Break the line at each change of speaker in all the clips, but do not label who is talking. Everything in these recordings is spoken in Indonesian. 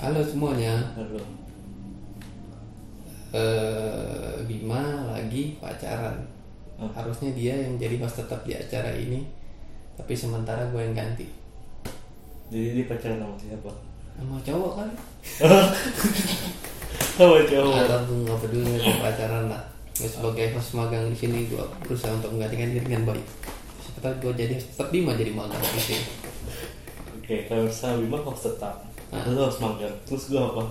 eh, semuanya
Belum.
eh, Bima lagi pacaran
Oh.
harusnya dia yang jadi host tetap di acara ini tapi sementara gue yang ganti
Jadi dia pacaran sama siapa?
sama cowok kan
Sama cowok.
atau gue nggak peduli gue pacaran lah gue sebagai host magang di sini gue berusaha untuk menggantikan diri dengan baik siapa tahu gue jadi host tetap Bima jadi magang di sini
Oke, kalau misalnya Bima harus tetap. Lu harus magang. Terus gue apa?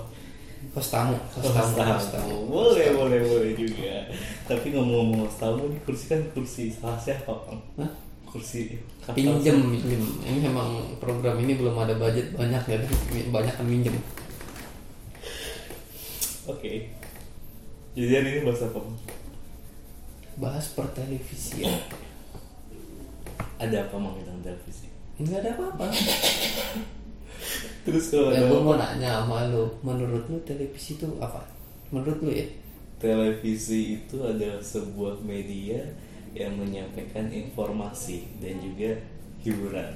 host tamu host tamu
Oh, Host
host
tamu.
tamu
Boleh, boleh, boleh juga. Tapi ngomong-ngomong host tamu, ini kursi kan kursi salah siapa, Bang?
Hah?
Kursi kakak
pinjem pinjem ini memang program ini belum ada budget banyak ya banyak kan minjem
Oke. Jadi hari ini bahas apa? Bang?
bahas ya. pertelevisian
Ada apa mang tentang televisi?
nggak ada apa-apa
Terus kalau
ya,
ada
gue
apa?
mau nanya sama lu menurut lu televisi itu apa menurut lu ya
Televisi itu adalah sebuah media yang menyampaikan informasi dan juga hiburan.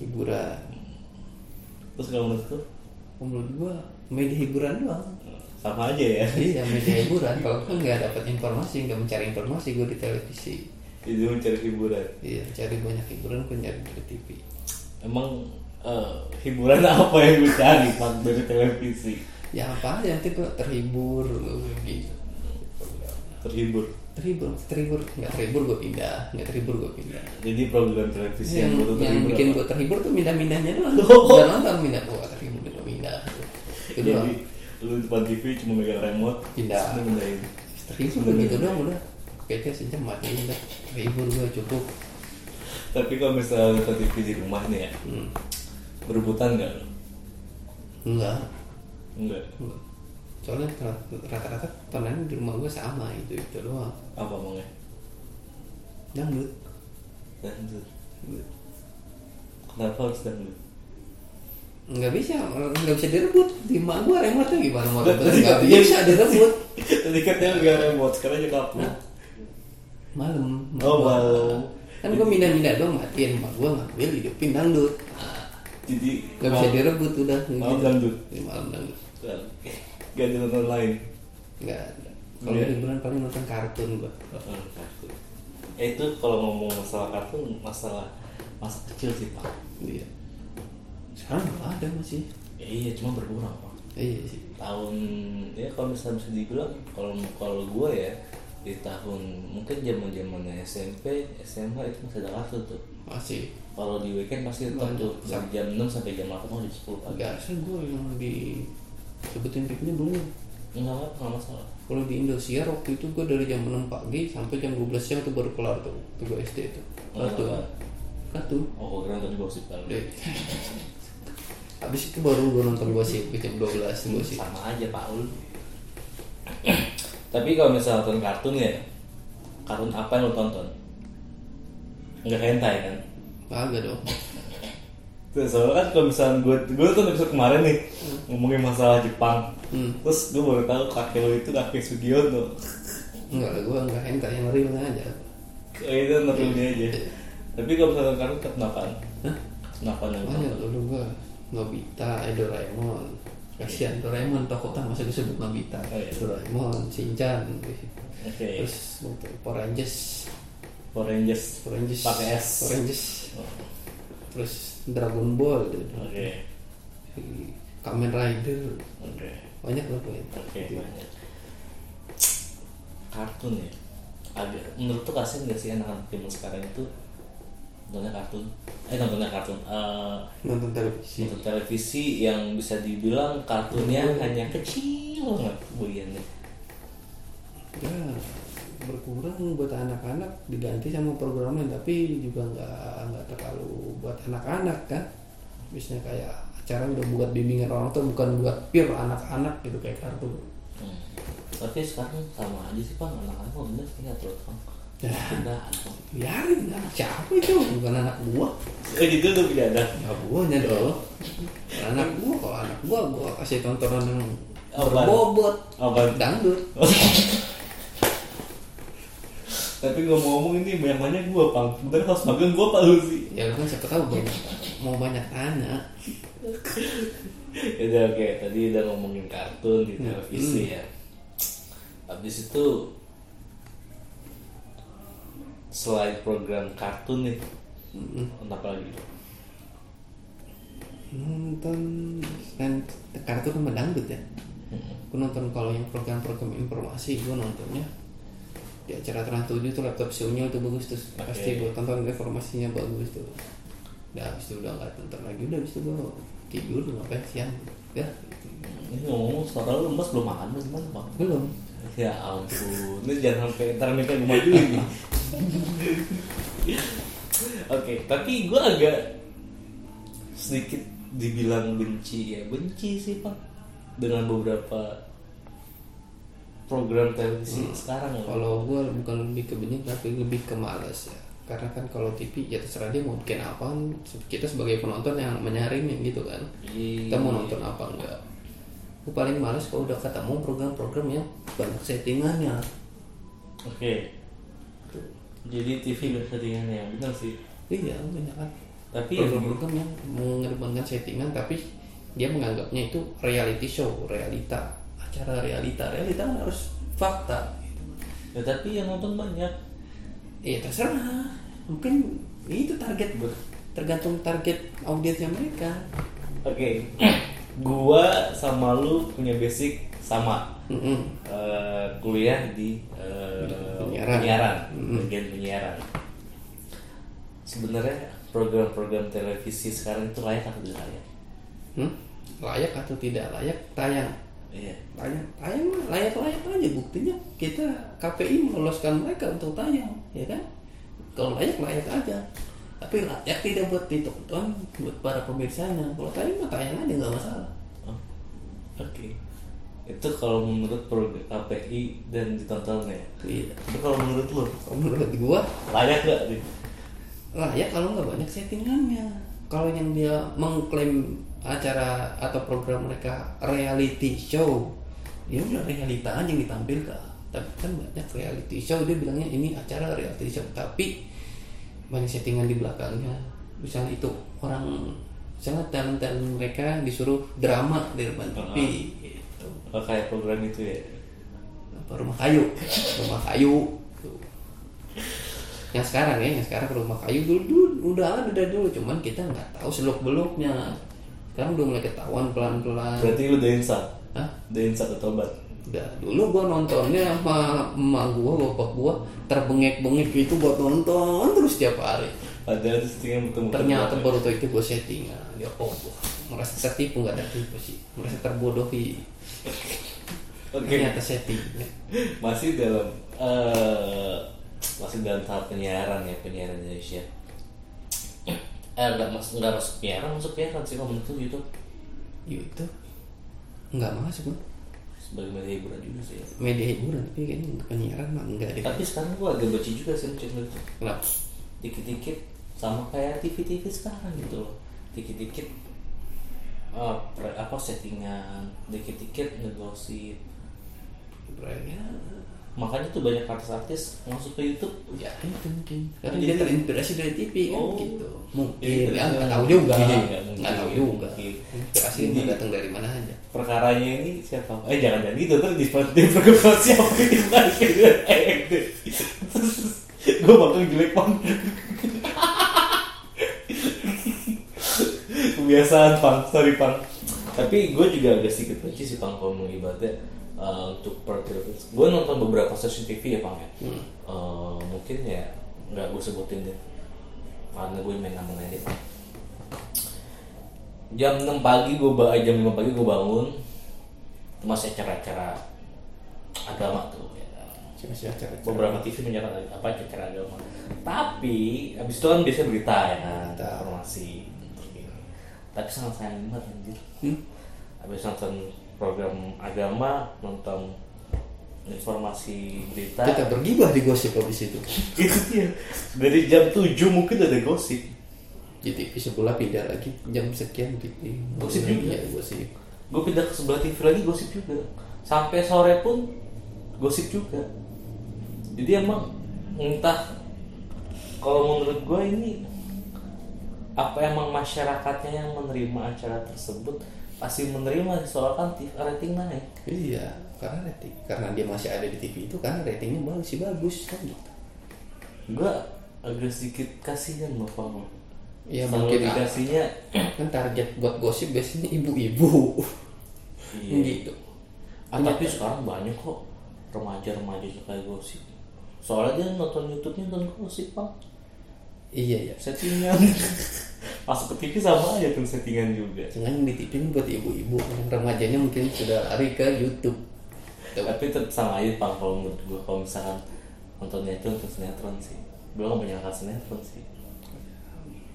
hiburan
Terus kalau menurut lu?
menurut gua media hiburan doang
sama aja ya.
Iya media hiburan kalau gue nggak dapat informasi nggak mencari informasi gue di televisi
Itu mencari hiburan.
iya cari banyak hiburan gue nyari di TV
Emang eh, hiburan apa yang lu cari Bang, dari televisi?
ya apa aja nanti gue terhibur gue gitu
Terhibur.
terhibur terhibur nggak terhibur gue pindah nggak terhibur gue pindah
Jadi program
Hmm,
televisi
yang,
yang, menurut lu
yang
terhibur
bikin
apa?
gue terhibur tuh pindah-pindahnya doang Gak nonton pindah gue terhibur gue pindah itu doang
Jadi lu depan TV cuma megang remote,
Pindah.
terus lu pindahin.
terhibur
Iya.
gitu doang udah kayaknya sejam mati udah terhibur gue cukup
Tapi kalau misalnya lu depan TV di rumah nih ya,
hmm.
berebutan nggak lu?
enggak
Enggak.
enggak. soalnya rata-rata tontonan di rumah gue sama itu itu doang
Apa mangnya?
dangdut
Dangdut. Kenapa harus dangdut?
nggak bisa nggak bisa direbut di emak gua remote gimana mau rebut
Tadi
nggak
katanya-
bisa direbut
Tadi katanya megang remote, sekarang juga apa?
malam
Oh, malam.
kan gua mindah-mindah doang matiin emak gua ngambil hidupin dangdut Nah,
Jadi
nggak bisa direbut udah
Malam
gitu.
dangdut.
Di malam dangdut
Gak ada nonton lain.
nggak ada. kalau
Iya.
liburan paling nonton kartun gua
Heeh, kartun. Eh, itu kalau ngomong masalah kartun, masalah masa kecil sih pak.
iya sekarang nggak ada masih
Ya, iya, cuma berkurang pak.
iya sih
tahun ya kalau misalnya bisa dibilang kalau kalau gue ya di tahun mungkin zaman zamannya SMP SMA itu masih ada kartu tuh
masih
kalau di weekend pasti tetap tuh dari jam 6 sampai jam 8 atau jam 10 pagi
agak sih gua yang di sebutin piknya belum
enggak apa nggak masalah
kalau di Indosiar waktu itu gue dari jam 6 pagi sampai jam 12 siang tuh baru kelar tuh waktu gue SD itu kartu
Oh.
kartu
oh keren tadi gosip kan
deh Iya. habis itu baru gue nonton gosip di jam 12 gosip
sama aja Paul tapi kalau misalnya nonton kartun ya kartun apa yang lo tonton nggak hentai kan
kagak dong
Tuh, soalnya kan kalau misalnya gue gue tuh episode kemarin nih ngomongin masalah Jepang
Hmm.
terus gue baru tahu kakek lo itu kakek Sugiono
enggak lah gue enggak hentai yang real aja
kayak itu
Iya.
naturalnya aja tapi kalau misalnya kamu ketenapan
Hah?
ketenapan yang
banyak Iya, dulu gue Nobita, eh, Doraemon kasihan Doraemon tokoh utama masa disebut Nobita
Oh, iya.
Doraemon, Shinchan gitu.
oke
terus waktu itu Power Rangers
Power Rangers
Power Rangers
Pakai S.
Power Rangers
Oh,
terus Dragon Ball gitu.
oke
Kamen Rider
oke
banyak lah pokoknya
oke banyak. kartun ya agak menurut tuh kasian gak sih anak-anak zaman sekarang itu nontonnya kartun eh nontonnya kartun eh,
nonton televisi
untuk televisi yang bisa dibilang kartunnya hanya kecil banget bagiannya
ya berkurang buat anak-anak diganti sama programnya tapi juga nggak nggak terlalu buat anak-anak kan biasanya kayak acara udah buat bimbingan orang tuh bukan buat pure anak-anak gitu kayak kartu
Hmm. tapi sekarang sama aja sih bang anak-anak mau bener sih nggak terus bang
Ya.
Pindah.
biarin anak siapa itu bukan anak gua
eh gitu tuh tidak ada
ya guanya dong anak gua kalau anak gua gua kasih tontonan yang
Apaan?
berbobot
apa
dangdut
tapi ngomong-ngomong ini banyak banyak gue pang bener harus magang gue pak lu sih
ya lu kan siapa tahu banyak mau banyak anak
ya udah oke tadi udah ngomongin kartun di televisi ya habis itu selain program kartun nih apa lagi
nonton kan kartu kan dangdut ya gue nonton kalau yang program-program informasi gue nontonnya di acara trans 7 tuh laptop show-nya tuh bagus terus
Oke.
pasti gue tonton informasinya bagus tuh udah habis itu udah nggak tonton lagi udah habis itu gue tidur ngapain siang ya
Hmm, ini ngomong setelah lu mas belum makan mas gimana pak
belum
ya ampun ini jangan sampai ntar mereka gue majuin nih oke tapi gue agak sedikit dibilang benci ya benci sih pak dengan beberapa program televisi sekarang ya, loh.
kalau gue bukan lebih ke bening tapi lebih ke males ya karena kan kalau TV ya terserah dia mau bikin apa kita sebagai penonton yang menyaringin gitu kan
Iya.
kita mau nonton apa enggak gue paling males kalau udah ketemu program-program yang banyak settingannya
oke jadi TV dan settingannya ya, benar sih
iya banyak kan
tapi yang
program-program yang mengedepankan settingan tapi dia menganggapnya itu reality show realita acara realita realita kan harus fakta
ya, tapi yang nonton banyak
iya terserah mungkin itu target tergantung target audiensnya mereka
oke gua sama lu punya basic sama
Mm-mm.
eh, kuliah di eh,
Penyiaran.
penyiaran, bagian penyiaran. Sebenarnya program-program televisi sekarang itu layak atau tidak layak?
Hmm? layak atau tidak layak tayang
Iya.
tayang tayang mah layak-layak aja buktinya kita KPI meloloskan mereka untuk tayang ya kan kalau layak layak aja tapi layak tidak buat ditonton buat para pemirsanya kalau tayang mah tayang aja nggak masalah
Oh, Oke. Itu kalau menurut program KPI dan ditontonnya. ya.
iya
Itu kalau menurut lu
kalau menurut gua
layak gak nih?
layak ya kalau nggak banyak settingannya kalau yang dia mengklaim acara atau program mereka reality show ya udah realita aja yang ditampilkan tapi kan banyak reality show dia bilangnya ini acara reality show tapi banyak settingan di belakangnya misalnya itu orang misalnya talent talent mereka disuruh drama di depan TV gitu.
Oh, kayak program itu ya.
Apa, rumah kayu rumah kayu tuh. yang sekarang ya yang sekarang rumah kayu dulu, dulu udah ada dari dulu cuman kita nggak tahu seluk beluknya sekarang udah mulai ketahuan pelan pelan
Berarti lu udah insaf.
Hah?
Udah insaf atau tobat?
udah dulu gua nontonnya sama emak gua bapak gua terbengek bengek gitu buat nonton terus tiap hari
Padahal itu settingan bertemu
ternyata baru tau itu gua settingan ya allah merasa tertipu nggak tertipu sih merasa terbodohi
Oke.
ternyata settingan
masih dalam eh, masih dalam tahap penyiaran ya penyiaran Indonesia eh nggak masuk nggak masuk penyiaran masuk penyiaran sih gitu. kalau menurut YouTube
YouTube Ya nggak masuk Bang.
sebagai media hiburan juga sih ya.
media hiburan tapi kayaknya untuk penyiaran mah enggak deh
tapi sekarang gua agak baca juga sih channel itu
kenapa
dikit-dikit sama kayak TV-TV sekarang gitu loh dikit-dikit eh, pre- apa settingan dikit-dikit ngegosip
ya
makanya tuh banyak artis-artis masuk ke YouTube
ya itu mungkin karena
Jadi-
dia terinspirasi dari TV kan
Oh.
gitu
Jadi
mungkin ya
ternyata-
nggak tahu juga
Iya, nggak mungkin.
nggak tahu juga
Mungkin.
inspirasi
Jadi-
itu datang dari mana aja
perkaranya ini siapa? Eh jangan jangan gitu terus di di perkara siapa kita gue bakal jelek bang. Kebiasaan pang, sorry pang. Tapi gue juga agak sedikit benci sih pang kalau mau ibaratnya eh, untuk perkara. Gue nonton beberapa stasiun TV ya pang ya. Eh, mungkin ya nggak gue sebutin deh karena gue main nama ini Pang jam 6 pagi gue ba eh, jam 5 pagi gue bangun itu masih acara-acara agama tuh ya.
siapa sih acara
beberapa TV menyarankan apa acara agama tapi abis itu kan biasanya berita ya kan
Berita.
informasi tapi sangat sayang banget anjir
Hmm?
abis nonton program agama nonton informasi berita
kita bergibah di gosip habis itu
itu dia dari jam 7 mungkin ada gosip
di TV sebelah pindah lagi jam sekian TV
Gosip juga?
Iya, gosip
gue pindah ke sebelah TV lagi gosip juga sampai sore pun gosip juga jadi emang entah kalau menurut gue ini apa emang masyarakatnya yang menerima acara tersebut pasti menerima soal kan ti- rating naik
Iya, karena rating karena dia masih ada di TV itu karena ratingnya bagus sih bagus kan gitu.
gue agak sedikit kasihan loh Pak.
Iya,
kalau
mungkin
dikasihnya
Kan target buat gosip biasanya ibu-ibu.
Iya.
gitu.
ah, tapi sekarang banyak kok remaja-remaja suka gosip soalnya dia nonton YouTube-nya nonton gosip pak
Iya ya.
settingan masuk ke TV sama aja tuh settingan juga
Cuman di TV ini buat ibu-ibu yang remajanya mungkin sudah lari ke YouTube. Tuh.
tapi tetap sama aja pak kalau menurut gue kalau misalkan nontonnya itu nonton sinetron sih gue gak menyangka sinetron sih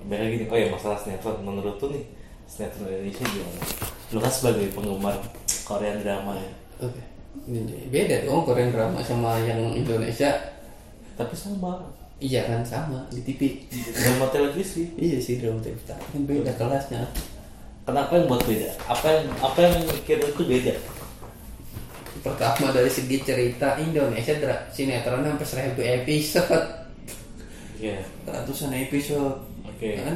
Beda gini, oh ya masalah sinetron menurut tuh nih sinetron Indonesia gimana? Lu kan sebagai penggemar Korean drama ya,
Oke. Ini Beda dong Korean drama sama yang Indonesia.
tapi sama
Iya kan sama di TV.
drama televisi
Iya sih drama TV. Tapi beda kelasnya.
Kenapa yang buat beda? Apa yang apa yang mikir itu beda?
Pertama dari segi cerita Indonesia dra- sinetron sampai seribu episode.
Iya.
ratusan episode
Oke.
kan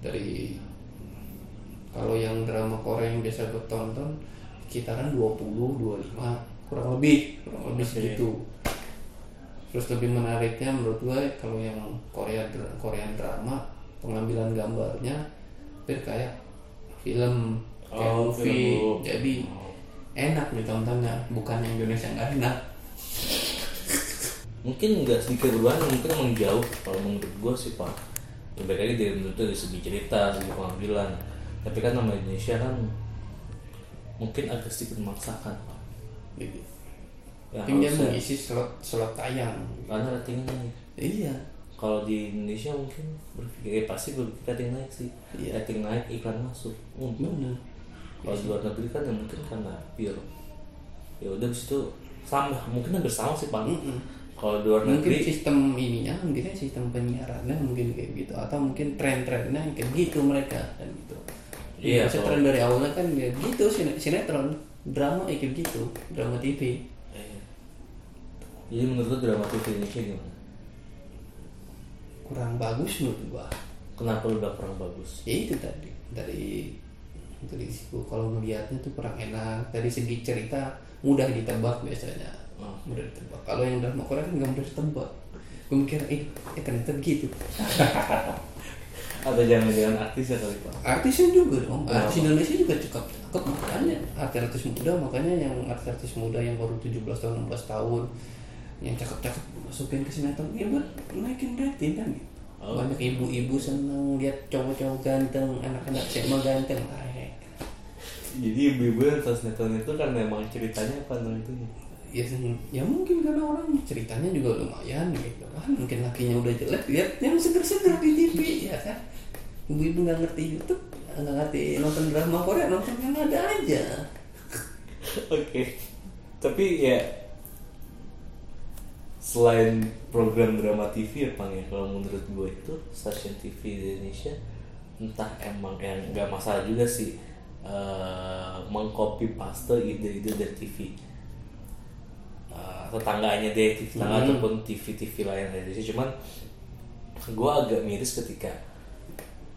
dari kalau yang drama Korea yang biasa gue tonton sekitaran 20 25 kurang lebih kurang lebih
Oke.
segitu terus lebih menariknya menurut gue kalau yang Korea dra- Korean drama pengambilan gambarnya hampir kayak film kayak
Oh,
movie
film.
jadi enak ditontonnya bukan yang Indonesia nggak enak
Mungkin nggak sedikit perubahan, mungkin emang jauh kalau menurut gue sih pak. Lebih lagi dari menurut gue dari segi cerita, segi pengambilan. Tapi kan nama Indonesia kan mungkin agak sedikit memaksakan pak.
gitu.
Ya,
Tapi dia
harusnya.
mengisi slot slot tayang
Karena ratingnya naik.
iya
Kalau di Indonesia mungkin berpikir ya pasti berpikir rating naik sih.
Iya.
Rating naik iklan masuk. Untung.
Bener.
kalau di luar negeri kan ya mungkin karena pure ya udah habis itu sama mungkin hampir sama sih pak kalau di luar
Mungkin
negeri
sistem ininya, mungkin ya sistem penyiarannya mungkin kayak gitu atau mungkin tren-trennya kayak gitu mereka kan gitu. Maksudnya
Iya, kalau-
tren dari awalnya kan ya gitu sine- sinetron, drama ya kayak gitu, drama TV.
eh, jadi menurut lu drama TV Indonesia gimana
Kurang bagus menurut gua.
kenapa lu udah kurang bagus
Ya itu tadi dari dari situ kalau melihatnya tuh kurang enak dari segi cerita mudah ditebak biasanya
Oh.
mudah ditebak kalau yang drama Korea kan nggak mudah ditebak gue mikir eh, eh ternyata begitu
atau jangan-jangan artis ya kali pak
artisnya juga dong artis Indonesia juga cukup cakep makanya artis-artis muda makanya yang artis-artis muda yang baru 17 tahun 16 tahun yang cakep-cakep masukin ke sinetron ya buat naikin rating kan gitu.
Oh.
banyak ibu-ibu seneng lihat cowok-cowok ganteng anak-anak SMA ganteng Ah, ya. Ay,
jadi ibu-ibu yang nonton sinetron itu karena emang ceritanya apa tentang itu
ya, sen- ya mungkin karena orang ceritanya juga lumayan gitu kan mungkin lakinya udah jelek lihat yang seger-seger di TV ya kan ibu-ibu nggak ngerti YouTube nggak ngerti nonton drama Korea nonton yang ada aja
oke tapi ya selain program drama TV ya Pang ya kalau menurut gue itu stasiun TV di Indonesia entah emang yang nggak masalah juga sih eh mengcopy paste ide-ide dari TV Eh, tetangganya deh TV tetangga ataupun TV-TV lain dari Indonesia cuman gue agak miris ketika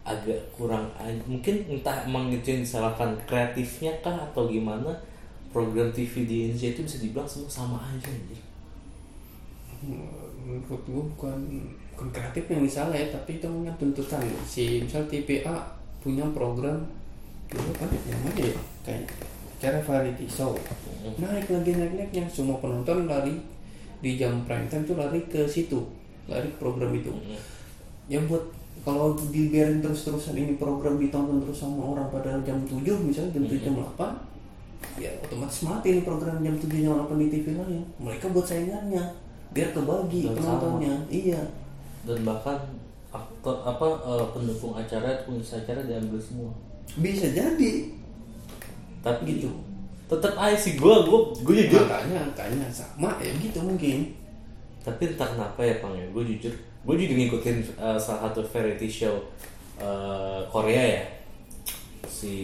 agak kurang aj- mungkin entah emang itu yang disalahkan kreatifnya kah atau gimana program TV di Indonesia itu bisa dibilang semua sama aja anjir
menurut gue bukan bukan kreatif yang salah ya tapi itu memang tuntutan si misal TPA punya program dulu kan yang mana ya kayak acara variety show naik lagi naik naiknya semua penonton lari di jam prime time tuh lari ke situ lari ke program itu yang Ya buat kalau dibiarin terus-terusan ini program ditonton terus sama orang pada jam 7 misalnya jam 7 jam 8 ya otomatis mati nih program jam 7 jam 8 di TV lain mereka buat saingannya biar kebagi
Dan
penontonnya iya
dan bahkan aktor apa eh, pendukung acara pengisi acara diambil semua
bisa jadi
tapi
Gitu.
tetap aja sih gue gue gue jujur
makanya angkanya sama ya gitu mungkin
tapi entah kenapa ya pang ya gue jujur gue juga ngikutin uh, salah satu variety show uh, Korea ya si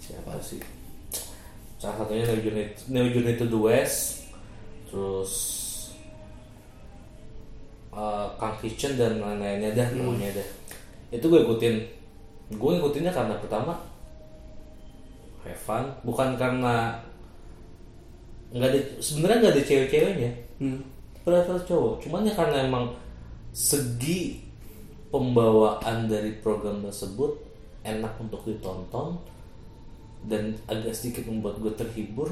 siapa sih salah satunya Neo Juni Neo Juni to the West terus eh, Kang Kitchen dan lain-lainnya dah namanya dah itu gue ikutin gue ngikutinnya karena pertama have fun bukan karena nggak ada sebenarnya nggak ada cewek-ceweknya
Hmm.
rata cowok cuman ya karena emang segi pembawaan dari program tersebut enak untuk ditonton dan agak sedikit membuat gue terhibur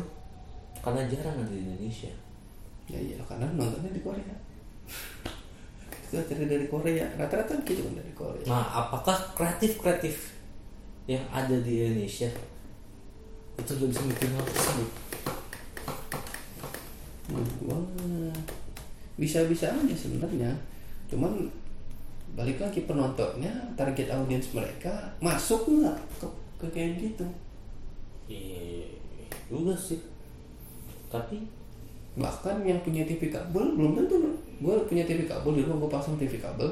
karena jarang ada di Indonesia
Ya iya karena nontonnya di Korea. Kita cari dari Korea, rata-rata gitu kan dari Korea.
nah apakah kreatif kreatif yang ada di Indonesia itu gak bisa bikin hal tersebut
Menurut gua bisa-bisa aja sebenarnya. Cuman balik lagi penontonnya, target audiens mereka masuk nggak ke, ke kayak gitu?
iya juga sih tapi
Bahkan yang punya TV kabel belum tentu. Gue punya TV kabel di rumah gue pasang TV kabel.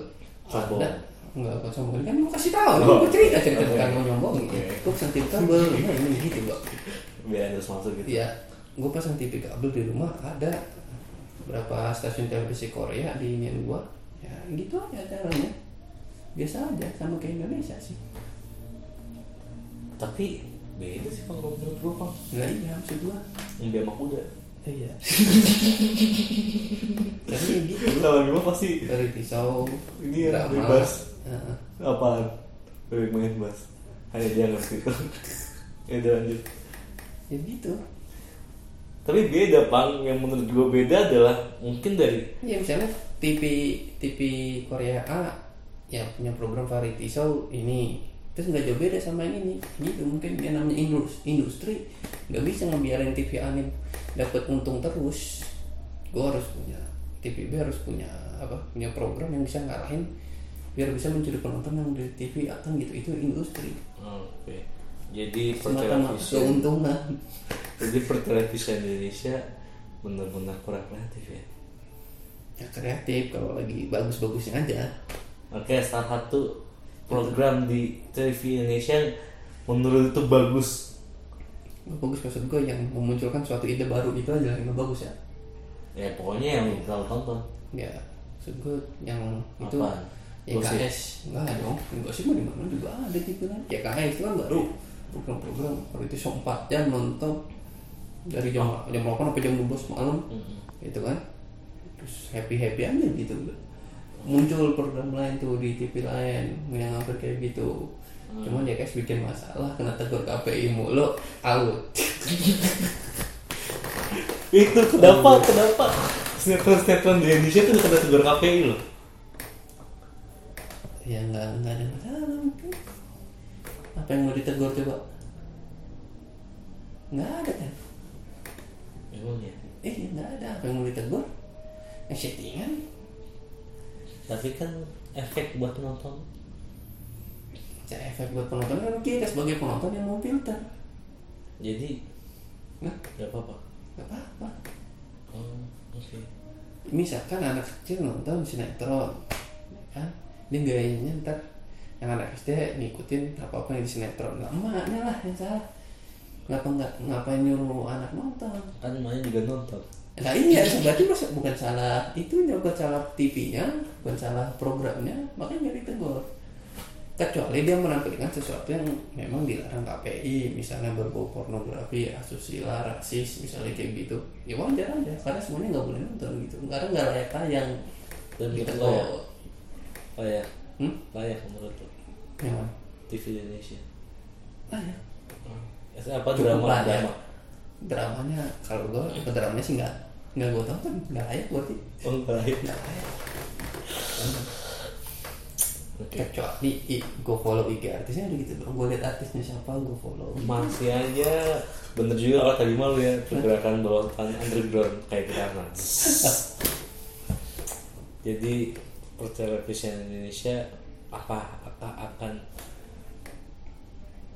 Sombong.
Ada Enggak, bukan sombong. Kan gue kasih tahu,
Oh.
gue cerita cerita
Oke.
bukan mau nyombong.
Oke.
Gue pasang TV kabel, nah ini gitu, Mbak.
biar harus masuk gitu
Iya, gue pasang TV kabel di rumah ada berapa stasiun televisi Korea di ingin gue. Ya gitu aja caranya. Biasa aja sama kayak Indonesia sih.
tapi beda sih pang kalau menurut gue pang
Nah iya maksud gue.
Mimpi sama kuda
Iya. Tapi ya gitu.
Lawan gue pasti
Dari pisau.
Ini yang
drama.
bebas.
Heeh.
Apaan? Bebek main mas Hanya dia ngerti itu Ya udah lanjut
ya gitu.
Tapi beda Pang Yang menurut gue beda adalah Mungkin dari
Ya misalnya TV TV Korea A yang punya program variety show ini terus nggak jauh beda sama yang ini gitu mungkin yang namanya indus- industri nggak bisa ngebiarin TV anime dapat untung terus gue harus punya TV B harus punya apa punya program yang bisa ngarahin biar bisa mencuri penonton yang dari TV A kan gitu itu industri
Oke Jadi
semata-mata
pertelevisian
keuntungan
Jadi pertelevisian Indonesia Bener-bener kurang kreatif ya
ya kreatif kalau lagi bagus-bagusnya aja
Oke salah satu program di TV Indonesia yang menurut itu bagus
bagus maksud gue yang memunculkan suatu ide baru itu aja yang bagus ya
Ya pokoknya yang kita tonton
Ya, maksud gue yang itu ya,
Apaan? Gosip?
YKS enggak dong, gosip mah di mana juga ada gitu kan. YKS itu kan baru program-program kalau itu show 4 jam nonton dari jam jam 8 sampai jam 12 malam gitu kan. Terus happy happy aja gitu muncul program lain tuh di TV lain yang hampir kayak gitu
Hmm.
cuman YKS bikin masalah kena tegur KPI mulu out
Itu kenapa, kenapa Sinetron-sinetron di Indonesia tuh kena tegur KPI loh
ya nggak nggak ada masalah Ah, mungkin apa yang mau ditegur coba nggak ada kan
Emang ya
eh nggak ada apa yang mau ditegur yang settingan
tapi kan efek buat nonton
cara efek buat penonton kan kita sebagai penonton yang mau filter
jadi
nah
nggak apa-apa
nggak apa-apa
oh, oke
misalkan anak kecil nonton sinetron ya kan dia gayanya ntar yang anak SD ngikutin apa apa yang di sinetron lah emaknya lah yang salah ngapa nggak ngapain nyuruh anak nonton
kan main juga nonton
Nah iya, berarti masa bukan salah itunya, bukan salah TV-nya, bukan salah programnya, makanya nggak ditegur. Kecuali dia menampilkan sesuatu yang memang dilarang KPI, misalnya berbau pornografi, asusila, rasis, misalnya kayak gitu. Ya wajar aja, karena semuanya nggak boleh nonton gitu, karena nggak layak tayang.
Dan oh menurut lo ya?
Ditegur.
layak
Hmm?
layak menurut lo
Ya,
TV Indonesia
layak.
Eh, apa
Cukup
drama
layak.
drama
Dramanya, kalau gua, dramanya sih nggak nggak gue tonton, nggak layak berarti.
oh layak
Nggak layak.
oke
kecuali i, gue follow IG artisnya udah gitu dong gue liat artisnya siapa gue follow
masih aja bener juga kalau tadi malu ya pergerakan bawah tanah underground kayak kita kan. jadi pertelevisian Indonesia apa apakah akan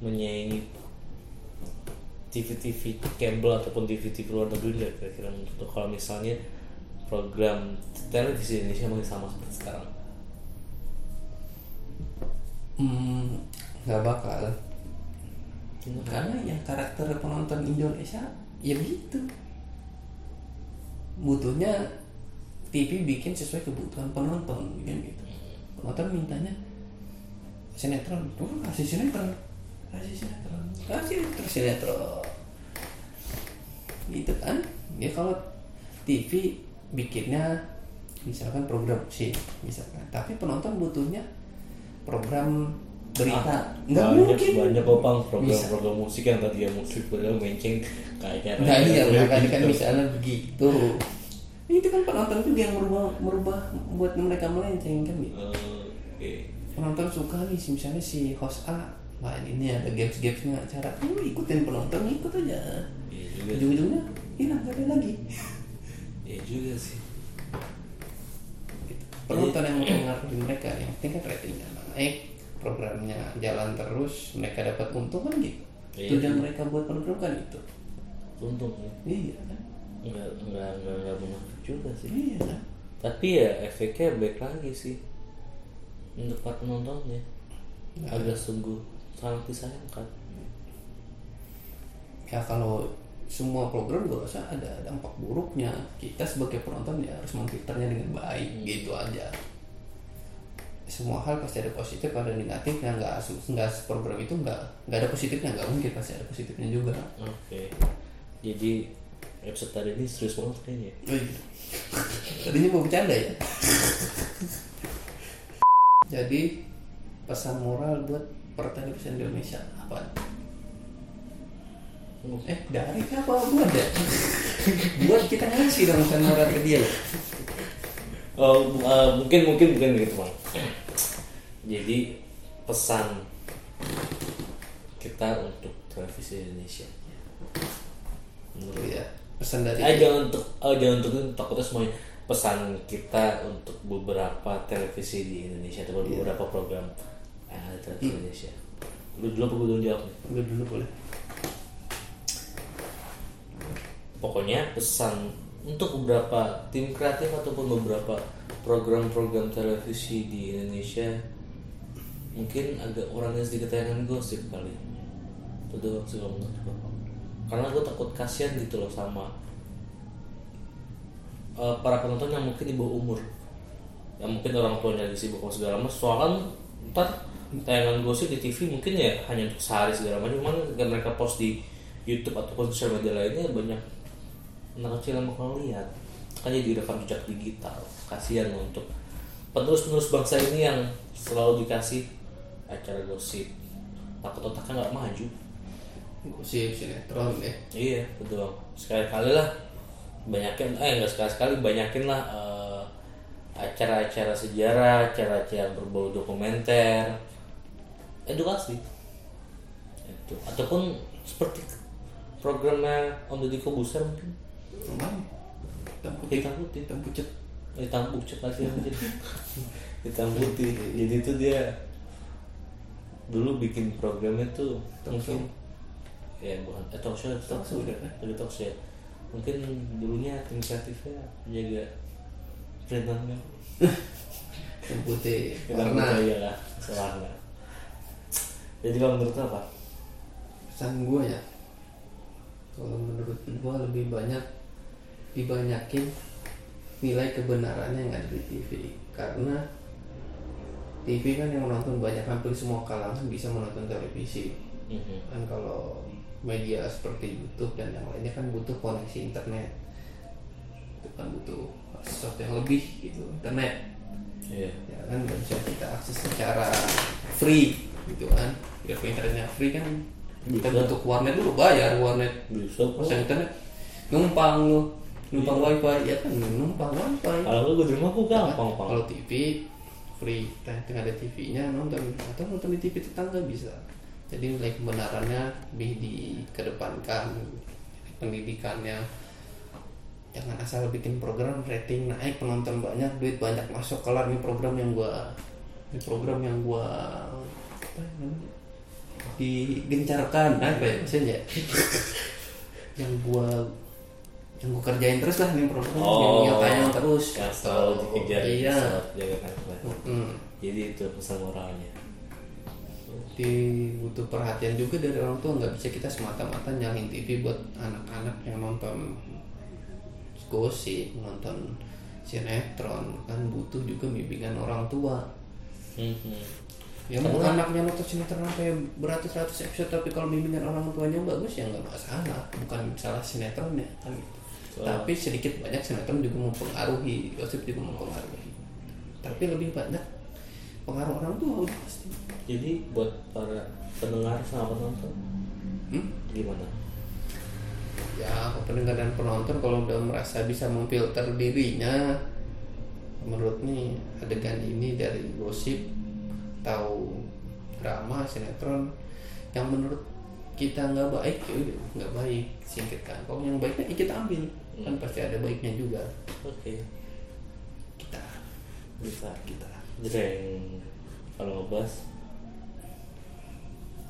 menyaingi TV-TV kabel ataupun TV-TV luar negeri nggak kira-kira menurut lo? kalau misalnya program televisi Indonesia masih sama seperti sekarang
hmm nggak bakal karena yang karakter penonton Indonesia ya gitu butuhnya TV bikin sesuai kebutuhan penonton kan gitu penonton mintanya sinetron tuh kasih sinetron kasih sinetron kasih terus sinetron gitu kan ya kalau TV bikinnya misalkan program sih misalkan tapi penonton butuhnya program berita nggak
banyak,
mungkin
banyak kok Bang,
Bisa.
program-program musik yang tadi yang musik padahal menceng kayak
Nah iya,
kayak
makanya kan
gitu.
misalnya begitu. Itu kan penonton juga yang merubah merubah buat mereka melenceng kan gitu.
Eh, oke.
Penonton suka nih si- misalnya si host A Wah ini ada games-gamesnya acara Lu ikutin penonton, ikut aja
Iya juga sih.
Ujung-ujungnya hilang, gak ada lagi
Iya juga sih.
Gitu. Penonton yang mempengaruhi mereka Yang penting kan ratingnya naik Programnya jalan terus Mereka dapat untung kan gitu
Iya.
Tujuan mereka buat program kan itu
Untung ya.
Iya kan
Enggak enggak enggak enggak munafik juga sih.
Iya kan
Tapi ya efeknya baik lagi sih untuk para penontonnya.
Nah.
Agak sungguh sangat disayangkan.
ya kalau semua program gue rasa ada dampak buruknya kita sebagai penonton ya harus memfilternya dengan baik gitu aja semua hal pasti ada positif ada negatifnya nggak asu- nggak program itu nggak nggak ada positifnya nggak mungkin pasti ada positifnya juga
Oke. Jadi episode tadi ini serius banget kayaknya.
Wih. tadinya mau bercanda ya jadi pesan moral buat pertanian Indonesia apa eh dari apa buat ya buat kita ngasih dong pesan moral ke dia ya
Oh, bu- eh, mungkin mungkin mungkin gitu bang. Jadi pesan kita untuk televisi Indonesia. Menurut
Gitu ya pesan dari
Eh jangan untuk eh, jangan untuk takutnya semuanya pesan kita untuk beberapa televisi di Indonesia atau beberapa program eh, televisi Indonesia. Lu dulu apa gue dulu jawab nih?
Lu dulu boleh
Pokoknya pesan untuk beberapa tim kreatif ataupun beberapa program-program televisi di Indonesia mungkin agak orangnya sedikit tayangan gosip kali. Itu doang sih kalau menurut gua. Karena gue takut kasihan gitu loh sama eh, para penonton yang mungkin di bawah umur yang mungkin orang tuanya lagi sibuk sama segala macam soalnya ntar tayangan gosip di TV mungkin ya hanya untuk sehari segala macam cuman ketika mereka post di YouTube ataupun sosial media lainnya banyak anak kecil yang bakal lihat kan jadi rekam jejak digital kasihan loh untuk penerus-penerus bangsa ini yang selalu dikasih acara gosip takut otaknya nggak maju
gosip sinetron deh
Iya betul sekali kali lah banyakin eh enggak sekali sekali banyakin lah eh, acara-acara sejarah acara-acara yang berbau dokumenter edukasi itu ataupun seperti programnya Om Deddy Kobuser mungkin
lumayan hitam putih
hitam putih
hitam pucet
hitam pucet lagi aja hitam putih jadi itu dia dulu bikin programnya tuh mungkin ya bukan eh, talk show talk show udah kan udah talk show ya. mungkin dulunya tim kreatifnya menjaga perintahnya
hitam putih
karena
warna
ya lah selama jadi kalau menurut lo apa
pesan gue ya kalau menurut gue lebih banyak dibanyakin nilai kebenarannya yang ada di TV karena TV kan yang menonton banyak hampir semua kalangan bisa menonton televisi
Mhm.
kan kalau media seperti YouTube dan yang lainnya kan butuh koneksi internet itu kan butuh sesuatu yang lebih gitu internet
iya
ya kan nggak bisa kita akses secara free gitu kan ya kalau internetnya free kan kita
Bisa.
butuh ke warnet dulu bayar warnet
bisa kok.
masa internet numpang lu numpang wifi ya kan numpang wifi
kalau gue di rumah gue gampang pang
kalau TV free dan itu ada TV-nya nonton atau nonton di TV tetangga bisa jadi nilai kebenarannya lebih dikedepankan pendidikannya jangan asal bikin program rating naik penonton banyak duit banyak masuk kelar nih program yang gua ini program yang gua apa namanya digencarkan apa ya maksudnya yang gua yang gua kerjain terus lah nih program yang,
Oh.
yang tayang terus
yang selalu dikejar
iya Hmm,
selalu jaga kan
Mm-mm.
jadi itu pesan moralnya
Di- butuh perhatian juga dari orang tua nggak bisa kita semata-mata nyalain TV buat anak-anak yang nonton gosip nonton sinetron kan butuh juga bimbingan orang tua
Mhm.
ya mau anaknya nonton sinetron sampai beratus-ratus episode tapi kalau bimbingan orang tuanya bagus ya nggak masalah bukan salah sinetronnya kan gitu. tapi sedikit banyak sinetron juga mempengaruhi gosip juga mempengaruhi tapi lebih banyak pengaruh orang tua udah pasti
Jadi buat para pendengar sama penonton
Hmm?
gimana?
ya pendengar dan penonton kalau udah merasa bisa memfilter dirinya menurut nih adegan ini dari gosip atau drama sinetron yang menurut kita nggak baik ya udah, nggak baik singkirkan kalau yang baiknya ya kita ambil kan pasti ada baiknya juga
Oke,
kita
bisa kita
kita
jreng kalau ngebahas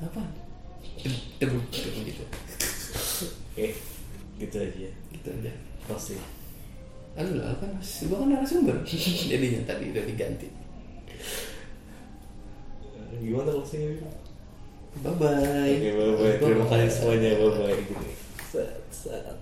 apa debu gitu
oke gitu aja
gitu aja
pasti
aduh lah apa mas gua kan narasumber jadinya tadi udah diganti
gimana maksudnya
bye bye
oke bye bye terima kasih semuanya bye bye gitu